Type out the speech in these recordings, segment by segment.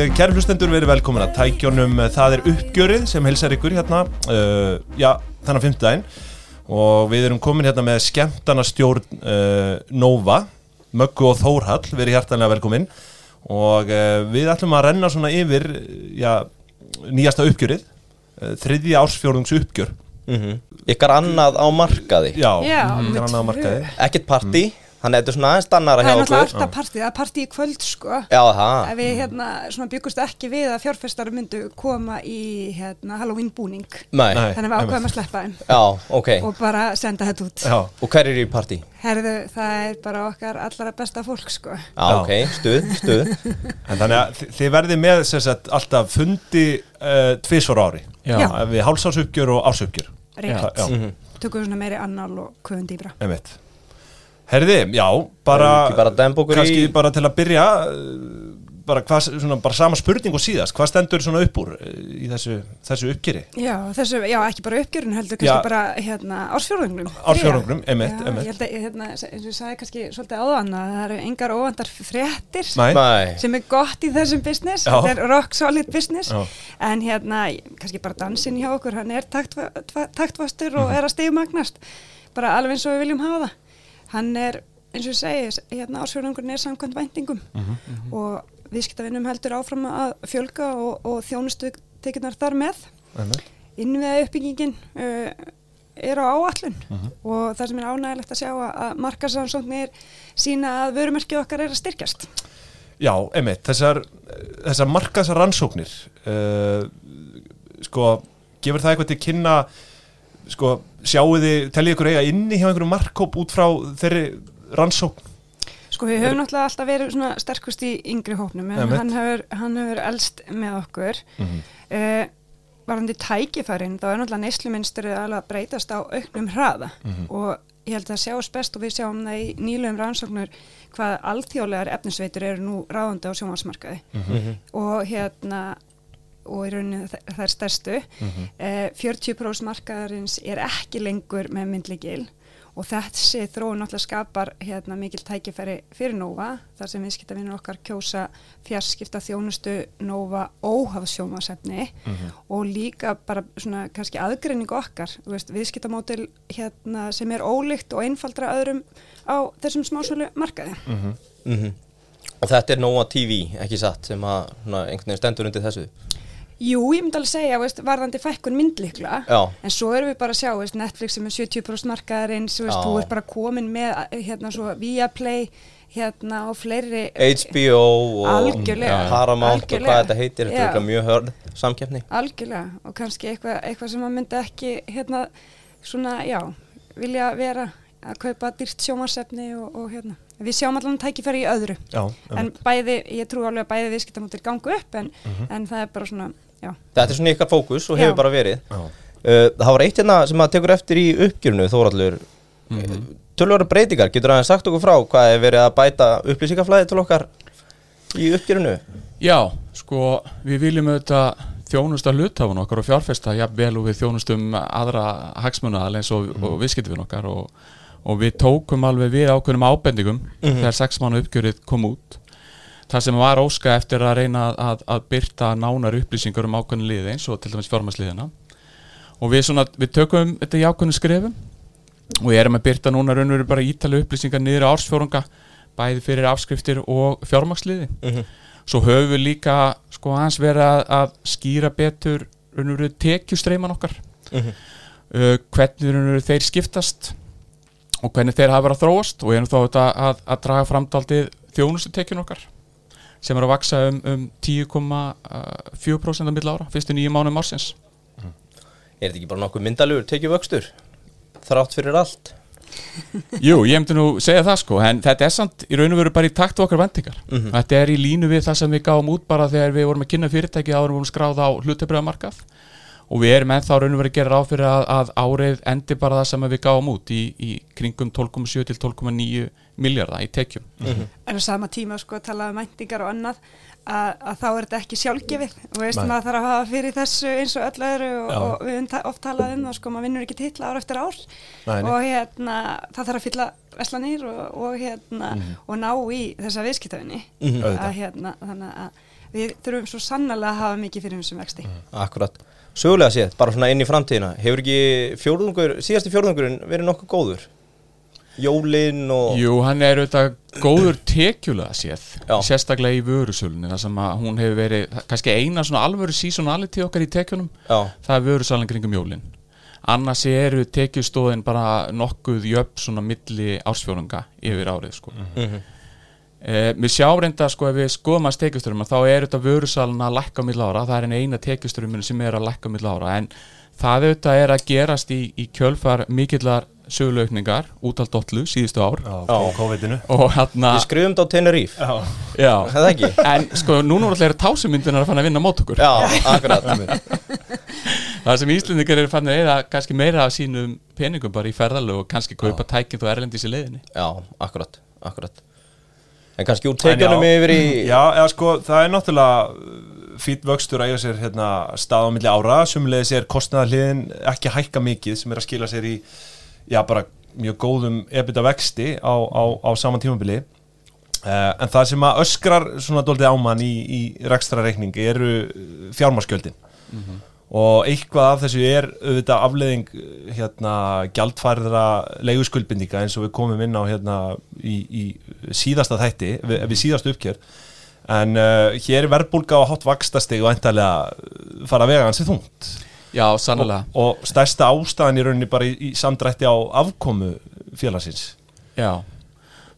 ég kæri hlustendur verið velkomin að tækjónum eh, það er uppgjörið sem helsar ykkur hérna uh, já, þannig að fimmtudaginn og við erum komin hérna með skemmtanastjórn uh, Nova Möggu og Þórhall, verið hjartanlega velkomin og uh, við ætlum að renna svona yfir eh, já, nýjasta uppgjörið uh, þriðja ársfjórðungs uppgjör Ykkar annað á markaði já, Já, mm, með þetta er annað tvö. markaði Ekkert partí Þannig að þetta er svona aðeins stannara hjá Það er okkur náttúrulega alltaf partí, það er partí í kvöld sko. Já, það Að Við hérna, svona, byggust ekki við að fjárfestar myndu koma í hérna, Halloween búning. Nei. Nei. Þannig við ákvæðum að sleppa þeim Já, ok Og, og bara senda þetta út. já, hver er í partí? Já, Herðu, það er bara okkar allra besta fólk sko. Já. ok, stuð, stuð en þannig að þi- þið verðið með sem sagt, alltaf fundi uh, tvisvar á ári Já. Já. við hálsásuppgjör og ásuppgjör Rétt. Já. Mhm. Tökum við svona meiri annál og kvöðum dýbra. Einmitt. Herði, já, bara, Erum við ekki bara að dempa okkur kannski í- bara til að byrja eh, bara, hvað, svona, bara sama spurning og síðast, hvað stendur svona upp úr eh, í þessu, þessu uppgjöri? Já, þessu, já, ekki bara uppgjörun Já. heldur, kannski bara hérna, ársfjórðungnum. Ársfjórðungnum, Þriðja. einmitt, Já, einmitt. Ég held að, hérna, eins og ég sagði kannski svolítið áðan að það eru engar óvandar fréttir Nei, Nei sem er gott í þessum business, Já. þetta er rock solid business, Já. en hérna, kannski bara dansinn hjá okkur, hann er taktva- tva- taktvastur og Mhm. er að stegumagnast, bara alveg eins og við viljum hafa það. Hann er, eins og ég segi, hérna ársfjörðungurinn er samkvæmt væntingum Mhm, og viðskiptavinnum heldur áfram að fjölga og, og þjónustu tekinar þar með einmitt. innviða uppbyggingin uh, er á áallun Mhm. og það sem er ánægilegt að sjá að, að markasansóknir sína að vörumerkið okkar er að styrkjast. Já, einmitt, þessar, þessar markaðsar rannsóknir uh, sko, gefur það eitthvað til kynna sko, sjáu þið, teljið ykkur eiga inni hjá einhverjum markkóp út frá þeirri rannsókn? Sko við höfum náttúrulega alltaf verið svona sterkust í yngri hópnum en Einmitt. hann hefur, hann hefur elst með okkur. Mm varandi tækifærin þá er náttúrulega neysluminstrið alveg að breytast á auknum hraða og ég held að sjáast best og við sjáum það í nýlegum rannsóknur hvað alþjóðlegar efnisveitur eru nú ráðandi á sjónvarsmarkaði Mhm. Mhm. og hérna og í rauninni þa- þær stærstu mm 40% markaðarins er ekki lengur með myndlíkil og þessi þróun náttúrulega skapar hérna mikil tækifæri fyrir Nova þar sem viðskiptavinnur okkar kjósa fjarskipta þjónustu Nova óhafsjómasefni og líka bara svona kannski aðgreining okkar þú veist, viðskiptamótil hérna sem er ólíkt og einfaldra öðrum á þessum smásölu markaði Mhm. Og þetta er Nóa TV, ekki satt sem að svona, einhvern veginn stendur undir þessu Jú, ég myndi alveg segja, veist, varðandi fækkun myndlíkla, Já. en svo erum við bara að sjá, veist, Netflix sem er 70% markaðarins, veist, Já. þú ert bara komin með, hérna, svo Viaplay, hérna, og fleiri... HBO og Algjörlega. Já. Paramount og Algjörlega. hvað þetta heitir Þetta er Já. eitthvað mjög hörð samkeppni Algjörlega, og kannski eitthvað eitthva sem maður myndi ekki, hérna, svona, já, vilja vera að kaupa dýrt sjómarsefni og, og hérna. Við sjáum allan tækifæri í öðru, Já, en bæði, ég trú alveg að bæði viðskiptamótir gangu upp, en, Mhm. en það er bara svona, já, Þetta er svona ykkar fókus og Já. hefur bara verið Já. Uh, það var eitt hérna sem að tekur eftir í uppgjörnu Þóraldur mm breytingar, getur aðeins sagt okkur frá hvað er verið að bæta upplýsingaflæði til okkar í uppgjörnu Já, sko, við viljum auðvitað þjónusta hlutafun okkar og fjárfesta jafnvel og við þjónustum aðra hagsmunnaðal eins og, og viðskiptufin okkar og, og við tókum alveg við ákveðnum ábendingum þegar sex mánu uppgjörið kom út það sem var óska eftir að reyna að, að byrta nánar upplýsingar um ákveðnu liði eins og til dæmis fjármasliðina og við, svona, við tökum þetta í ákveðnum skrefum og ég erum að byrta núna raunveru bara ítalegu upplýsingar niður á ársfjórunga bæði fyrir afskriftir og fjármaksliði svo höfum við líka sko aðeins verið að, að skýra betur raunveru tekjustreiman okkar uh, hvernig raunveru þeir skiptast og hvernig þeir hafa verið að þróast og erum þá auðvitað að, að draga framdaldið þjónustutekjun okkar sem er að vaksa um, uh, um 10,4% að milla ára, fyrstu nýju mánum ársins Er þetta ekki bara nokkuð myndalugur, tekið vöxtur þrátt fyrir allt Jú, ég hefndi nú segja það sko en þetta er samt í raun og veru bara í takt við okkar vendingar Þetta er í línu við það sem við gáum út bara þegar við vorum að kynna fyrirtæki árum vorum skráð á hlutabriðamarkað og við erum ennþá raun og veru að gera ráð fyrir að, að árið endi bara það sem við gáum út í, í kringum 12,7 til 12,9 miljardar í tekjum en á sama tíma sko að tala um mæntingar og annað að, að þá er þetta ekki sjálfgefið og veist Nei. maður þarf að hafa fyrir þessu eins og öll öðru og, Já. og við höfum ta- oft talað um það sko maður vinnur ekki titla ár eftir ár Nei, nei. og hérna það þarf að fylla veslanir og, og hérna og ná í þessa viðskiptafinni Mhm. Auðvitað. að hérna þannig að við þurfum svo sannlega að hafa mikið fyrir þessum vexti. Mhm. Akkurat. Sögulega séð, bara svona inn í framtíðina, hefur ekki fjórðungur, síðasti fjórðungurinn verið nokkuð góður? Jólin og... Jú, hann er auðvitað góður tekjulega séð Já. sérstaklega í vörusulunni þar sem að hún hefur verið það- kannski eina svona alvöru seasonality okkar í tekjunum Já. það er vörusalan kringum jólin annars eru tekjustóðin bara nokkuð jöfn svona milli ársfjórunga yfir árið sko Mhm. Eh, við sjáum reynda sko ef við skoðum að tekjusturum þá er þetta vörusalun að lækka mill ára það er einn eina tekjusturum sem er að lækka mill ára en það auðvitað er að gerast í, í kjölfar mikillar sögulaukningar út af dollu síðustu ár á á COVID-inu og hérna Við skrifum þetta á Teneríf, Já, já. er það ekki? en sko núna er alltaf tásumyndunar að fann að vinna mót okkur Já, akkurat. það sem Íslendingar eru fann að eða kannski meira af sínum peningum bara í ferðalög og kannski kaupa tækið og erlendis í leiðinni Já, akkurat, akkurat. En kannski úr teikjunum En já. yfir í... já eða sko, það er náttúrulega fýtt vöxtur að eiga sér hérna, stað á milli ára, sumulegis er kostnaðarliðin ekki að hækka mikið sem er að skila sér í já, bara mjög góðum ebita vexti á, á, á saman tímabili uh, en það sem að öskrar svona dóldið ámann í, í rekstra eru fjármarskjöldin og eitthvað af þessu er auðvitað afleðing hérna gjaldfærðra leiguskuldbindinga eins og við komum inn á hérna í, í síðasta þætti, við, við síðasta uppgjör en uh, hér er verðbólga og hátt vakstastig og endalega fara að vega hansi þungt já, sannlega og stærsta ástæðan í rauninni bara í, í samdrætti á afkomu félagsins já,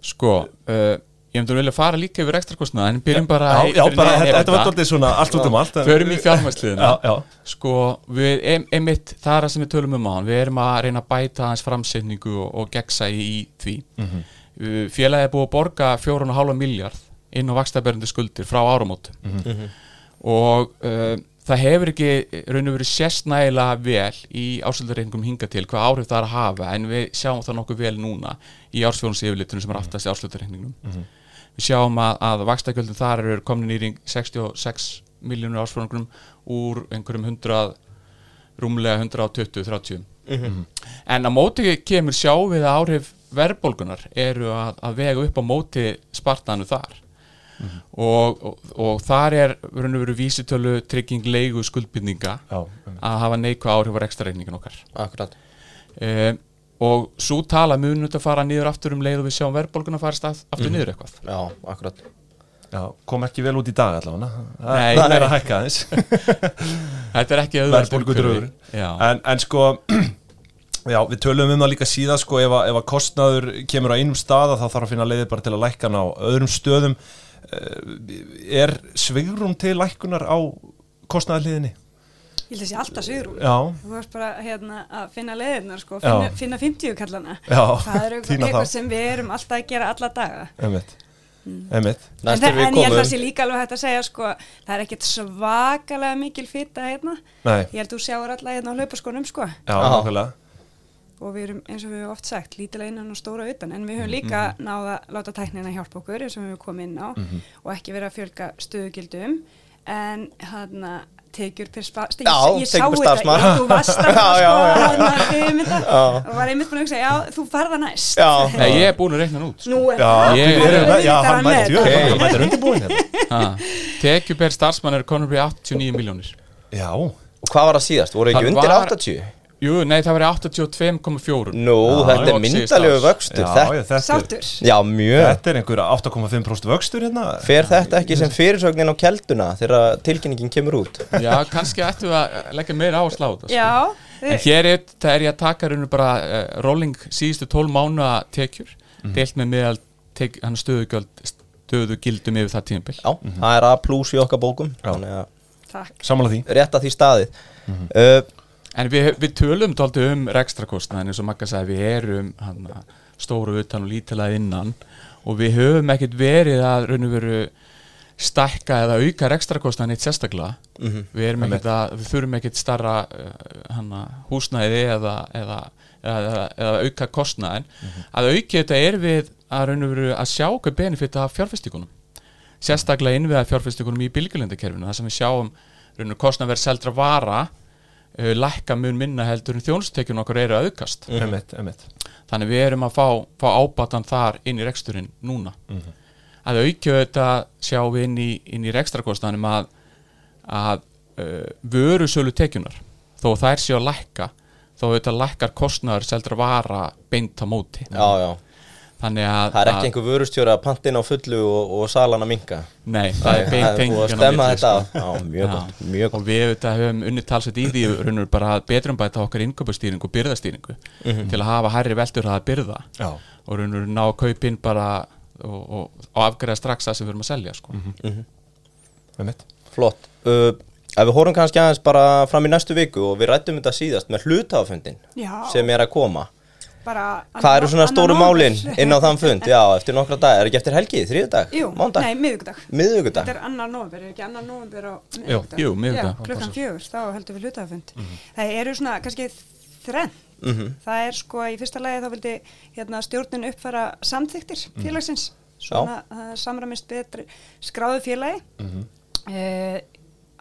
sko uh, ég myndi að vilja fara líka yfir ekstra kostnað en byrjum bara Já, já, bara þetta, þetta var dóttið alltaf svona allt út um allt en- förum í fjármæsliðina Já, já, sko, við, em, emitt, það er það sem við tölum um á hann, við erum að reyna að bæta hans framsetningu og, og gegnsæi í því mm félagið er búið að borga 4,5 miljard inn á vakstaberndu skuldir frá áramót og uh, það hefur ekki raun og verið sérst nægilega vel í ásöldarreyningum hinga til hvað áhrif það er að hafa en við sjáum það nokkuð vel núna í ársfjóðans yfirlitunum sem er aftast í ásöldarreyningnum við sjáum að, að vakstakjöldin þar eru komin í ring 66 miljónur ásfjörðungrum úr einhverjum 100 rúmlega 120-30 en á móti kemur sjá við að áhrif verðbólgunar eru að, að vega upp á móti spartanu þar og, og, og þar er raun og veru vísitölu trygging leigu skuldbindninga já, að hafa neikvað áhrif á ekstra reyningin okkar Akkurat. e, og svo tala munut að fara niður aftur um leið og við sjáum verðbólguna farist að- aftur Mhm. niður eitthvað Já, akkurat. já, kom ekki vel út í dag allavega Nei, það er nei. að hækka aðeins Þetta er ekki auðvelt verðbólgudraugur umhverfi. Já, en, en sko já, við tölum um það líka síðan sko, ef, að- ef að kostnaður kemur á einum stað að þá þarf að finna leiðir bara til að lækka hann á öðrum stöðum Eh, er svigrum til lækkunar á kostnaðarliðinni? Ég held að sé alltaf sigur Já, Þú varst bara hérna, að finna leiðirnar sko, Já. finna, finna 50 kallana Já, það er eitthvað, tína þá. eitthvað sem við erum alltaf að gera alla daga einmitt einmitt, Næst en, er það- við en ég held að það sé komum. líka alveg hægt að segja sko, það er ekkert svakalega mikil fita hérna, nei, ég held að þú sjáur alla hérna á hlaupaskonum sko já, Já. nákvæmlega og við erum eins og við höfum oft sagt lítilega innan og stóra utan en við höfum líka Mhm. náða að láta tæknina hjálpa okkur eins og við höfum komið inn á og ekki verið að fjölga stöðugildum en hann tekjur per spa ég, Já, ég sá tekjur per þetta, starfsmann. ég, þú varst að hérna, Já, já, já. Já. skoða og var einmitt búin að hugsa, já, þú farða næst Já, Nei, ég er búin að reikna hann út sko. nú er Já, Ég- við erum- Auðvitað já, er hann hann með mætir jú, þetta. hann mætir undirbúin hérna. Ha. Tekjubær starfsmann er konur byrja 89 miljónir Já, og hvað var það síðast? Voru Það ekki undir var- 80? Jú, nei, það verið 82,4 Nú, þetta er lok síðasta myndalegu árs. já, vöxtur. já, Já, þetta er sáttur já mjög. þetta er einhver 8,5% vöxtur hérna Fer þetta ekki sem fyrirsögnin á kelduna þegar tilkynningin kemur út? Já, kannski ættum við að leggja meira áherslu á þetta sko. já, En hér er, það er ég að taka rauninu bara uh, rolling síðustu 12 mánu tekjur deilt með meðal tek, hann stöðugjöld stöðugildum yfir það tímabil Já, það er A plus í okkar bókum. Já. Þannig að takk Samanlega því rétt að því staðið. Uh, En við, við tölum dálítið um rekstrakostnaðin eins og Magga sagði við erum hann, stóru utan og lítilega innan og við höfum ekkert verið að raun og veru stækka eða auka rekstrakostnaðin eitt sérstaklega við, erum ekkert að, við þurfum ekkert starra uh, hana, húsnæði eða, eða, eða, eða, eða auka kostnaðin að auki þetta er við að raun og veru að sjá hvað benefit af fjárfestíkunum sérstaklega innviða fjárfestingunum í bylgjulendakerfinu þar sem við sjáum rauninu kostnaverð seldra vara uh, lækka mun minna heldur en þjónustekjun okkar eru að Mm. aukast Einmitt, einmitt Mhm. þannig við erum að fá, fá ábatan þar inn í reksturinn núna að aukja þetta sjá við inn í, inn í rekstrakostnanum að, að uh, vörusölu tekjunar þó að þær séu að lækka þó þetta lækkar kostnaður seldra vara beint á móti já, já þannig að Það er ekki að- einhver vörustjóri að pantin á fullu og, og salan að minka Nei, það er beint búið að tengingin á stemma milli, þetta sko. af. Já, mjög gott, Já. mjög gott og við auðvitað höfum unni talsett í því raunur bara að betrumbæta okkar innköpustýringu og byrðastýringu Mhm. til að hafa hærri veldur að byrða Já. og raunur ná kaupin bara og, og, og afgreða strax það sem við erum að selja sko. Mhm. með mitt Flott uh, Ef við horfum kannski aðeins bara fram í næstu viku og við rættum þetta síðast með hlutafundin Já. sem er að koma bara Hvað eru svona annan- stóru annan málin nóvember. inn á þann fund? Já, eftir nokkra dag, er ekki eftir helgi, þriðudag, Jú, mándag, nei, miðvikudag Þetta miðvikudag er annar november, er ekki annar november á Jú, jú, miðvikudag. Mhm. Já, Klukkan fjögur, þá heldur við hlutafund Það eru svona kannski þrenn Mhm. Það er sko í fyrsta lagi þá vildi hérna, stjórnin uppfæra samþyktir Mhm. félagsins Svona það samramist betri skráðu félagi mm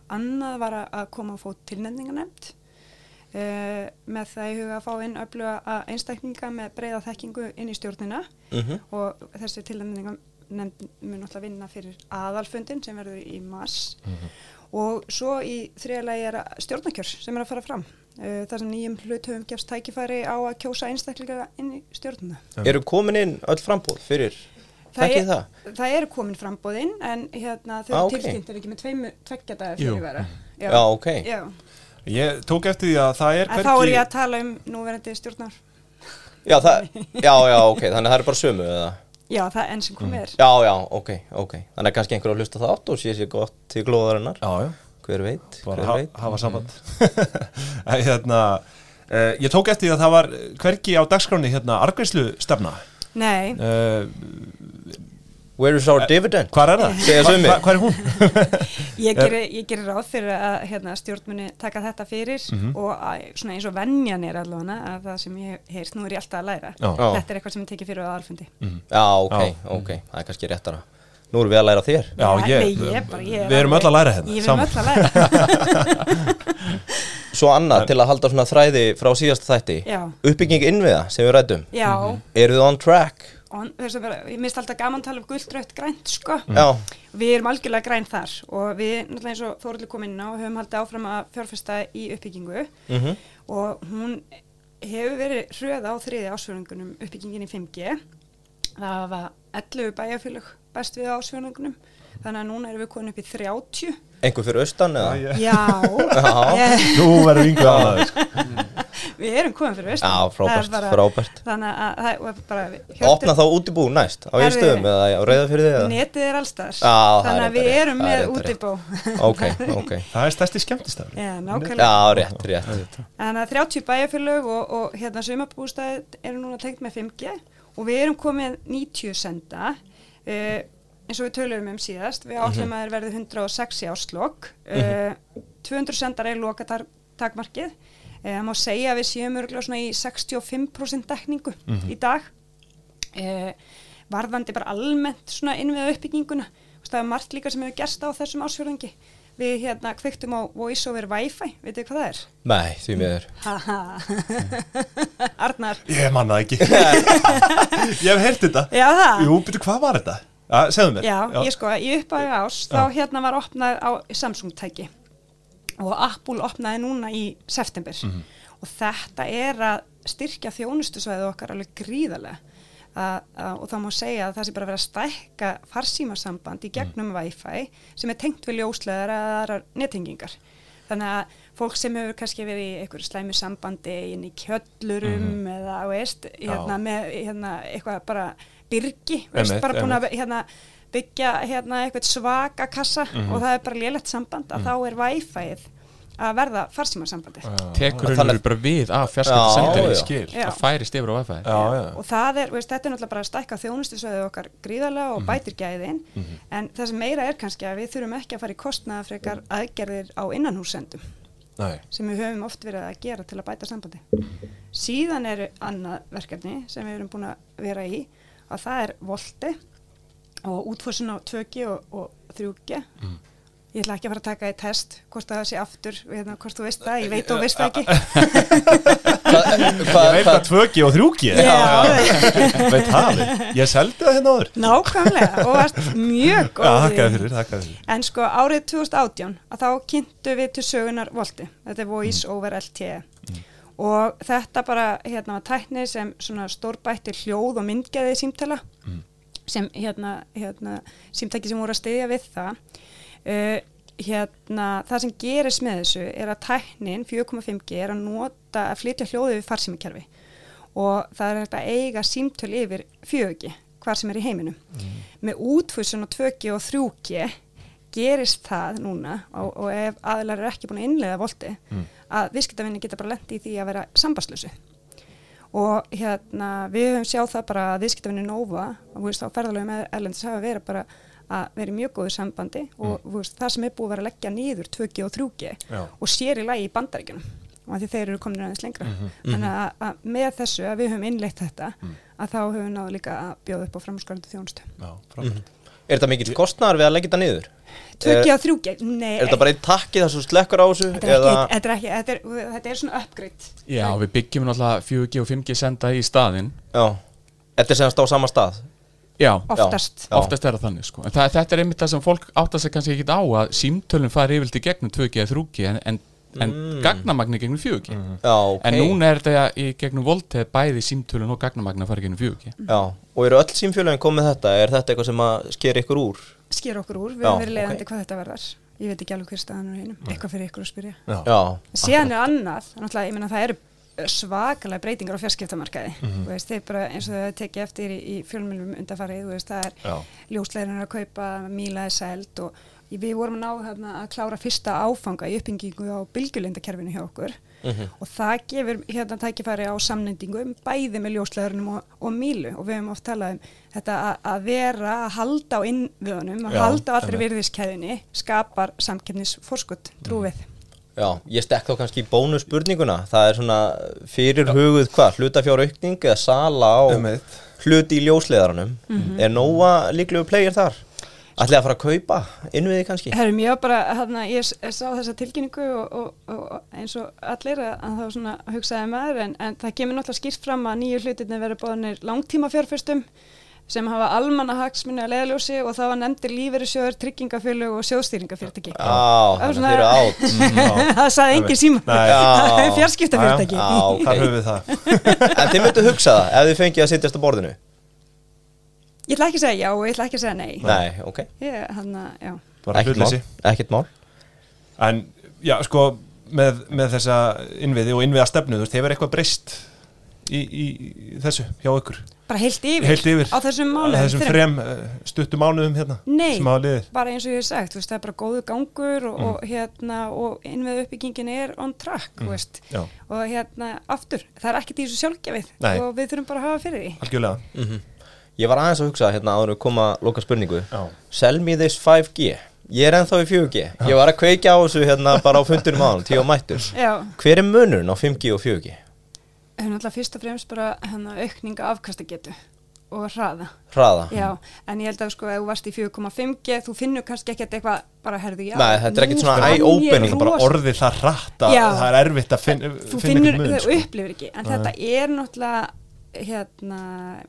Annað var að- að koma að fót tilnefninga nefnd Uh, með það í huga að fá inn öfluga að einstaklinga með breyða þekkingu inn í stjórnina og þessi tilnefninga nefnd mun alltaf vinna fyrir aðalfundin sem verður í mars og svo í þriðalagi er að- stjórnarkjör sem er að fara fram uh, þar sem nýjum hlutöfum gefst tækifæri á að kjósa einstaklinga inn í stjórnina Eru komin inn öll frambúð fyrir Þekkið er, það? það er komin frambóðinn en hérna þau Ah, ah, ok. tilkynnt er ekki með tveimu, tveggja dagar Jú. fyrir vera Já, ok. Já. Ég tók eftir því að það er En þá er ég að tala um núverandi stjórnar Já, það, já, já, ok, þannig að það eru bara sömu eða Já, það er enn sem Mm. komið er Já, já, ok, ok Þannig að kannski einhver að hlusta þátt og sé sér gott til glóðarinnar Já, já Hver veit, bara Mhm. hver ha veit hafa samband mm. hérna, uh, ég tók eftir því að það var hvergi á dagskráni hérna argveislu stefna Nei, Where is our dividend? hvað er það? Segja sumir. Hvað er hún? Ég gerir ég geri ráð fyrir að hérna, stjórnmuni taka þetta fyrir Mhm. og að, svona eins og venjan er allavega að það sem ég hef heyrt, nú er ég alltaf að læra Já. Mm. Já. þetta er eitthvað sem ég tekið fyrir á aðalfundi Já, ok, Eh. Já. ok, það er kannski réttara Nú erum við að læra af þér Já, Nei, ég, ég bara- ég er við erum öll alveg- að læra hérna Ég erum saman. öll að læra Svo annað til að halda svona þræði frá síðasta þætti Já. Uppbygging innviða sem við ræddum Já, Eru þið on track? og þess að bara, ég mist alltaf gaman að tala um gullt, rautt, grænt sko Mm. Já, Við erum algjörlega græn þar og við, náttúrulega eins og Þóruldur kom inn á, höfum haldið áfram að fjárfesta í uppbyggingu Mhm. og hún hefur verið hröð á þriði ásfjörðungunum uppbyggingin í 5G. Það var 11 bæjarfélög best við ásfjörðungunum, þannig að núna erum við komin upp í 30. einhver fyrir austan eða? Já, Já, Já. ég, Þú verður yngvega að það sko. við erum komin fyrir vestan. Já, frábært, Það er bara- frábært. Þannig að það er bara... Opna þá útibú næst á Herðu. einstöðum eða á reyðafyrði eða? Netið er allstæðar, Já, það er þannig að við reyndar rétt, erum það er með reyndar rétt. útibó. Ok, ok Það er stærsti skemmtistafur Já, nákvæmlega. Já, rétt, rétt Þannig að 30 bæjarfélög og, og hérna sumabústæði eru núna tengt með 5G og við erum komið 90 senda uh, eins og við töluðum um síðast við átlum að þeir verði 106 í áslokk uh, 200 sendar er loka takmarkið Eh, það má segja að við séum örgulega svona í 65% dekningu í dag uh, varðandi bara almennt svona inn við uppbygginguna Þú veist, það er margt líka sem hefur gerst á þessum ásfjörðingi við hérna kveiktum á voice over wifi, veitu hvað það er? Nei, því miður Haha. Arnar Ég manna það ekki Ég hef heyrt þetta Já, það. Jú, betur hvað var þetta? Ja, segðu mér Já, ég sko, í uppæðu ás þá hérna var opnað á Samsung-tæki og Apple opnaði núna í september og þetta er að styrkja þjónustusvæðu okkar alveg gríðarlega að, að, og þá má segja að það sé bara verið að stækka farsímasamband í gegnum Wi-Fi sem er tengt við ljóslegar eða aðrar nettingingar. Þannig að fólk sem hefur kannski verið í einhverju slæmu sambandi inn í kjöllurum eða, þú veist, hérna, með hérna, eitthvað bara byrgi, veist, Einmitt, bara búin að einmitt. hérna, byggja hérna, eitthvað svaka kassa Mhm. og það er bara lélegt samband að þá er Wi-Fi-ið að verða farsímarsambandið tekur Þannig- raunur bara við af Já, fjarskiptasendari já. Skil. Já. það færist yfir á Wi-Fi Já, já og það er, veist, þetta er náttúrulega bara að stækka þjónustusvæðið okkar gríðarlega Mhm. og bætir gæðin en það sem meira er kannski að við þurfum ekki að fara í kostnaðafrekar Mhm. aðgerðir á innanhúsendum Nei. sem við höfum oft verið að gera til að bæta sambandi síðan eru annað verkefni sem við erum búin að vera í að Mm. það er volti og útfórsun á 2G og, og 3G ég ætla ekki að fara að taka í test hvort það sé aftur, hérna, hvort þú veist það ég veit og veist það ekki Hvað, eh, hvað, Ég veit hvað, að 2G og 3G Já, alveg. Veit það við Ég seldi það hérna áður nákvæmlega og varst mjög Já, góð í þakkaði því. fyrir, þakkaði fyrir En sko árið 2018 að þá kynntu við til sögunar Volti, þetta er Voice over LTE og þetta bara hérna var tækni sem svona stórbætti hljóð og myndgeði símtala sem hérna, hérna símtæki sem voru að styðja við það uh, hérna það sem gerist með þessu er að tæknin 4.5G er að nota að flytja hljóði við farsímikerfi og það er hægt að eiga símtöl yfir 4G hvar sem er í heiminum með útfúsun á 2G og 3G gerist það núna og, og ef aðlar eru ekki búin að innlega volti að viðskiptavinni geta bara lendi í því að vera sambastlösu og hérna við höfum sjáð það bara að viðskiptavinni Nova og þú veist á ferðalöfum með Erlendis hafa verið bara að vera í mjög góðu sambandi og Mm. þú veist, það sem er búið að vera að leggja nýður 2G og 3G Já. og sér í lagi í bandaríkjunum og að því þeir eru komin aðeins lengra Mhm. þannig að, að með þessu að við höfum innleitt þetta Mm. að þá höfum við náðu líka að bjóða upp á framskorandi þjónustu Já, frábært er þetta mikill kostnar við að leggja þetta niður? 2G og 3G, nei Eh, Er þetta bara einn takki þar sem þú slekkur á þessu? Þetta er, ekki, þetta, er ekki, þetta, er, þetta er svona uppgritt Já, við byggjum náttúrulega 4G og 5G senda í staðinn Já, þetta er semast á sama stað Já, oftast Já. oftast er það þannig sko. en það, þetta er einmitt það sem fólk átta sig kannski ekki á að símtölun fari yfirlt í gegnum 2G eða 3G en, en, en Mm. gagnamagni gegnum 4G Já, ok en núna er þetta í gegnum voltið bæði símtölun og gagnamagni að fara í gegnum 4G Já, og eru öll símfjölögin komið þetta? Er þetta eitthvað sem að sker ykkur úr? sker okkur úr, við Já, höfum verið leiðandi ok. hvað þetta verðar ég veit ekki alveg hver staðan er einum, eitthvað fyrir ykkur að spyrja Já, Já, síðan er annað, náttúrulega, ég meina það eru uh, svakalega breytingar á fjarskiptamarkaði Mhm. þú veist, þeir bara eins og þau hafa tekið eftir í, í fjölmjölum undarfarið, þú veist, það er Já. ljósleirinn að kaupa, míla er seld og við vorum að ná hérna, að klára fyrsta áfanga í uppbyggingu á bylgjulindakerfinu hjá okkur Mhm. og það gefur hérna tækifæri á samnendingu um bæði með ljósleirinnum og, og mílu og við hefum oft talað um þetta að- að vera að halda á innviðunum að Já, halda á allri einmitt. virðiskeðinni skapar samkefnisforskut, trúið Mhm. já, ég stekk þá kannski í bónusspurninguna Það er svona fyrir huguð hvað? Hlutafjáraukning eða sala á Einmitt. hluti í ljósleðaranum Mhm. Er Nóa líklegur player þar? Ætlið að fara að kaupa innviði kannski? Herrum, ég var bara, hérna, ég s- sá þessa tilkynningu og, og, og eins og allir að, að þá svona hugsaði maður en, en það kemur náttúrulega skýrt fram að nýju hlutirni verður bóðinir langtíma fjárfyrstum sem hafa almanna hagsmunni að leiðljósi og það var nefndir lífeyrissjóður, tryggingafélög og sjóðstýringafyrirtæki. Já, Það var þannig að þeir eru átt það sagði engin síma. Nei. Já. Fjarskiptafyrirtæki. Já, já. þar höfum við það En þið myndu hugsa það ef þið fengið að sitjast á borðinu? Ég ætla ekki að segja já og ég ætla ekki að segja nei. Nei, ok Ég, hann já. Bara Ekkert mál, hlutleysi ekkert mál En, já, sko með, með þessa innviði og innviða stefnu þú veist, hefur eitthvað breyst í, í, í þessu hjá ykkur Bara heilt yfir. heilt yfir Á þessum mánuðum. á þessum þrem. frem eh, stuttum mánuðum hérna Nei, sem hafa liðið bara eins og ég hef sagt, þú veist, það er bara góðu gangur og, og Mm. hérna, og innveð uppbyggingin er on track, þú veist, Já. og hérna, aftur, það er ekkert í þessu sjálfgefið Nei. og við þurfum bara að hafa fyrir því. Mm. algjörlega Ég var aðeins að hugsa hérna áður en við koma að loka spurningu Já. Sell me this 5G Ég er ennþá í 4G Ég var að kveikja á þessu hérna bara á fundunum án Tíu og mættur Já, Hver er munurinn á 5G og 4G? við höfum alltaf fyrst og fremst bara hérna, aukninga afkastagetu og hraða. Hraða Já, en ég held að sko, ef þú varst í 4,5G, þú finnur kannski ekkert eitthvað bara, herðu, já. Nei, þetta er ekkert nú svona fann ég eye-opening, bara rosa- orðið það rætt að Já. það er erfitt að finn, þú finna finnur, einhvern mun það sko. upplifir ekki en þetta er náttúrulega hérna,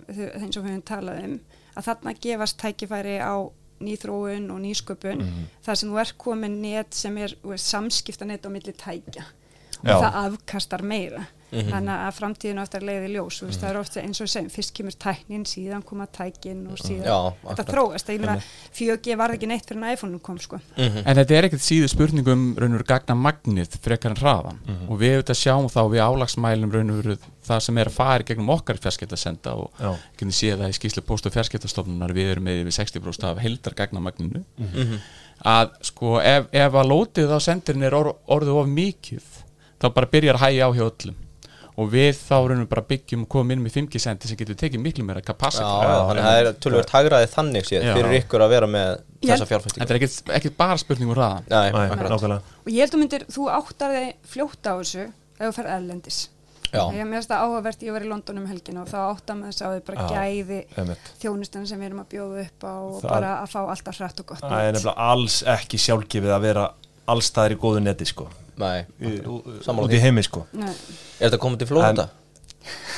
þau- eins og við höfum talað um að þarna gefast tækifæri á nýþróun og nýsköpun Mhm. þar sem þú er komin net sem er þú veist, samskiptanet á milli tækja og Já. Mhm. það afkastar meira þannig að framtíðin oftar leiði ljós mm -hmm. það er ofta eins og við segjum, fyrst kemur tæknin síðan koma tækin Mhm. og síðan Já, þetta akkurat. þróast, ég meina 4G varð ekki neitt fyrir en iPhone kom sko Mhm. en þetta er ekkert síðu spurning um raunur gagnamagnið frekar en hraðan Mhm. og við auðvitað sjáum þá við álagsmælum raunur það sem er að fara í gegnum okkar fjarskiptasenda og Já. ekki séð það í skýslu post- og fjarskiptastofnunar við erum með yfir 60% af heldar gagnamagninu Mhm. að sko ef, ef að lótið á sendirinn er or, orðið of mikið þá bara byrjar að hægja á hjá öllum og við þá raunum bara byggjum og komum inn með 5G sendi sem getur tekið miklu meira Já, kapasitet þannig að það er tölvöld hagraði þannig séð Já. Fyrir ykkur að vera með Ég- þessa þetta fjárfæstingu er ekkert, ekkert bara spurning um hraðan Nei, Nei, akkurat nákvæmlega og ég held að þú myndir, þú áttar þig fljótt á þessu ef þú fer erlendis Já, Ég mér finnst það áhugavert, ég var í London um helgin og þá átta með þess að þau bara Já, gæði einmitt. þjónustan sem við erum að bjóða upp á og Það- bara að fá alltaf hrætt og gott Það er mat. nefnilega alls ekki sjálfgefið að vera alls staðar í góðu neti sko nei Í- ú- Sammála út í því. heimi sko Nei. Er þetta komið til Flórida?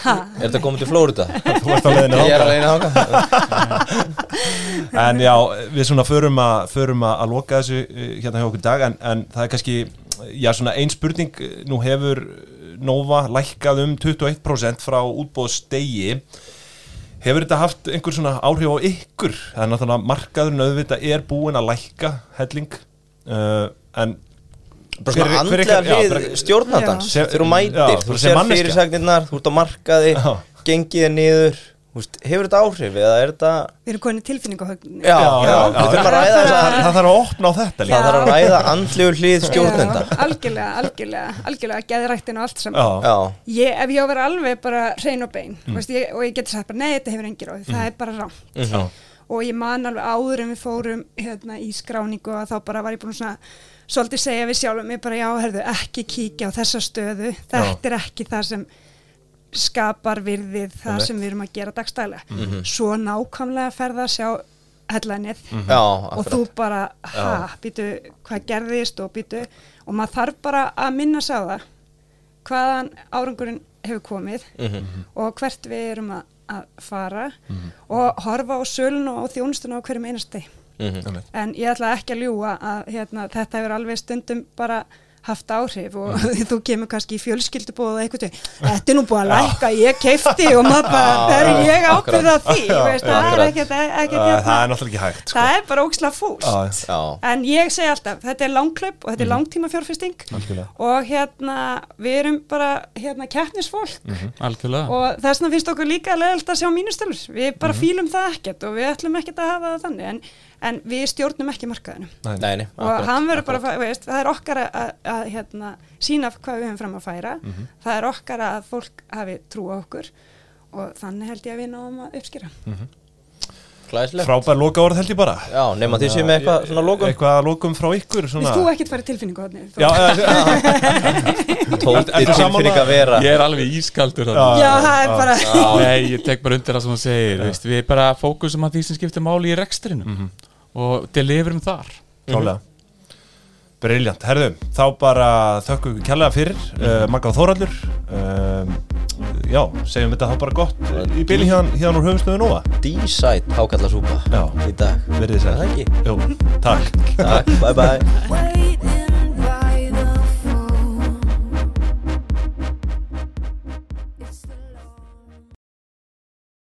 Ha, Er þetta komið til Flórida? Þú ert á leiðinni Ég þangað. er að reyna þáka En já, við svona förum, a, förum að að loka þessu eh, hérna hjá okkur í dag en, en það er kannski, eh, já svona ein spurning eh, nú hefur Nova lækkað um 21% frá útbóðsdegi Hefur þetta haft einhver svona áhrif á ykkur? Það er náttúrulega markaðurinn auðvitað er búin að lækka helling uh, en Bara svona Hver- hver- andlega já, hlið bara- stjórnandans Já. Þegar þú Já, mætir, þú þú sem sér manneskja. fyrirsagnirnar, þú ert á markaði Já. Gengið er niður Þú veist, Hefur þetta áhrif eða er þetta Við erum konið tilfinningahögn Já, já, við þurfum að ræða þess það, að það þarf að opna á þetta líka Það þarf að ræða andlegu hlið stjórnenda Já, Algjörlega, algjörlega, algjörlega geðrættin og allt saman Já. Mm. Já, Ég, ef ég á að vera alveg bara hrein og bein veist, ég, og ég geti sagt bara, nei, þetta hefur engir og það er bara rámt Já. Mhm. og ég man alveg áður en við fórum hérna, í skráningu að þá bara var ég búin svona svolítið segja við sjálfum mig bara já, herðu, ekki kíkja á þessa stöðu þetta er ekki það sem skapar virðið það Einmitt. sem við erum að gera dagstælega svo nákvæmlega ferða að sjá hellanið já, og akkurat þú bara, ha, býtu hvað gerðist og býtu og maður þarf bara að minna sig á það hvaðan árangurinn hefur komið Mhm. og hvert við erum að, að fara og horfa á sölun og þjónustuna á hverjum einasti Einmitt. en ég ætla ekki að ljúa að hérna, þetta hefur alveg stundum bara haft áhrif og Mhm. þú kemur kannski í fjölskyldubóð og eitthvað til, þetta er nú búið að lækka ég keifti og maður bara, Já, það er já, ég ábyrð akkurat. að því, Já, veist, það er akkurat. ekkert Æ, ekkert Eh, Það hérna- er náttúrulega ekki hægt sko. það er bara ógislega Já, fúst Já. en ég segi alltaf, þetta er langklaup og þetta er langtíma fjárfesting Algjörlega. og hérna, við erum bara hérna keppnisfólk algjörlega og þess vegna finnst okkur líka leðalt að sjá mínustelur, við bara fílum það ekkert og við ætlum ekkert að hafa það þannig en, en við stjórnum ekki markaðinu Nei, nei, og akkurat hann verður bara, að fá- veist, það er okkar að, að, að hérna, sína hvað við höfum fram að færa það er okkar að fólk hafi trú á okkur og þannig held ég að við náum að uppskýra Klæðislega Frábær loka orð held ég bara Já, nema því sem er eitthvað svona lókum Eitthvað að lokum frá ykkur svona Vilt þú ekkert fara í tilfinningu hodni? Já, já, Ertu- Tóti ertu sammála? tilfinning að vera ég er alveg ískaldur þarna. Já, það er bara Nei, ég tek bara undir það sem hún segir veist, Við bara fókusum að því sem skiptir máli í rekstrinum og deliverum þar klálega Briljant, herðum, þá bara þökkum við kjærlega fyrir Mhm. uh, Magga og Þóraldur uh, Já, segjum þetta þá bara gott í bíli hérna, hérna úr höfumstöðu Nóa D-side hákallasúpa Já. í dag Verið þið Er það sér ekki? Jú, takk Takk, bye bye waiting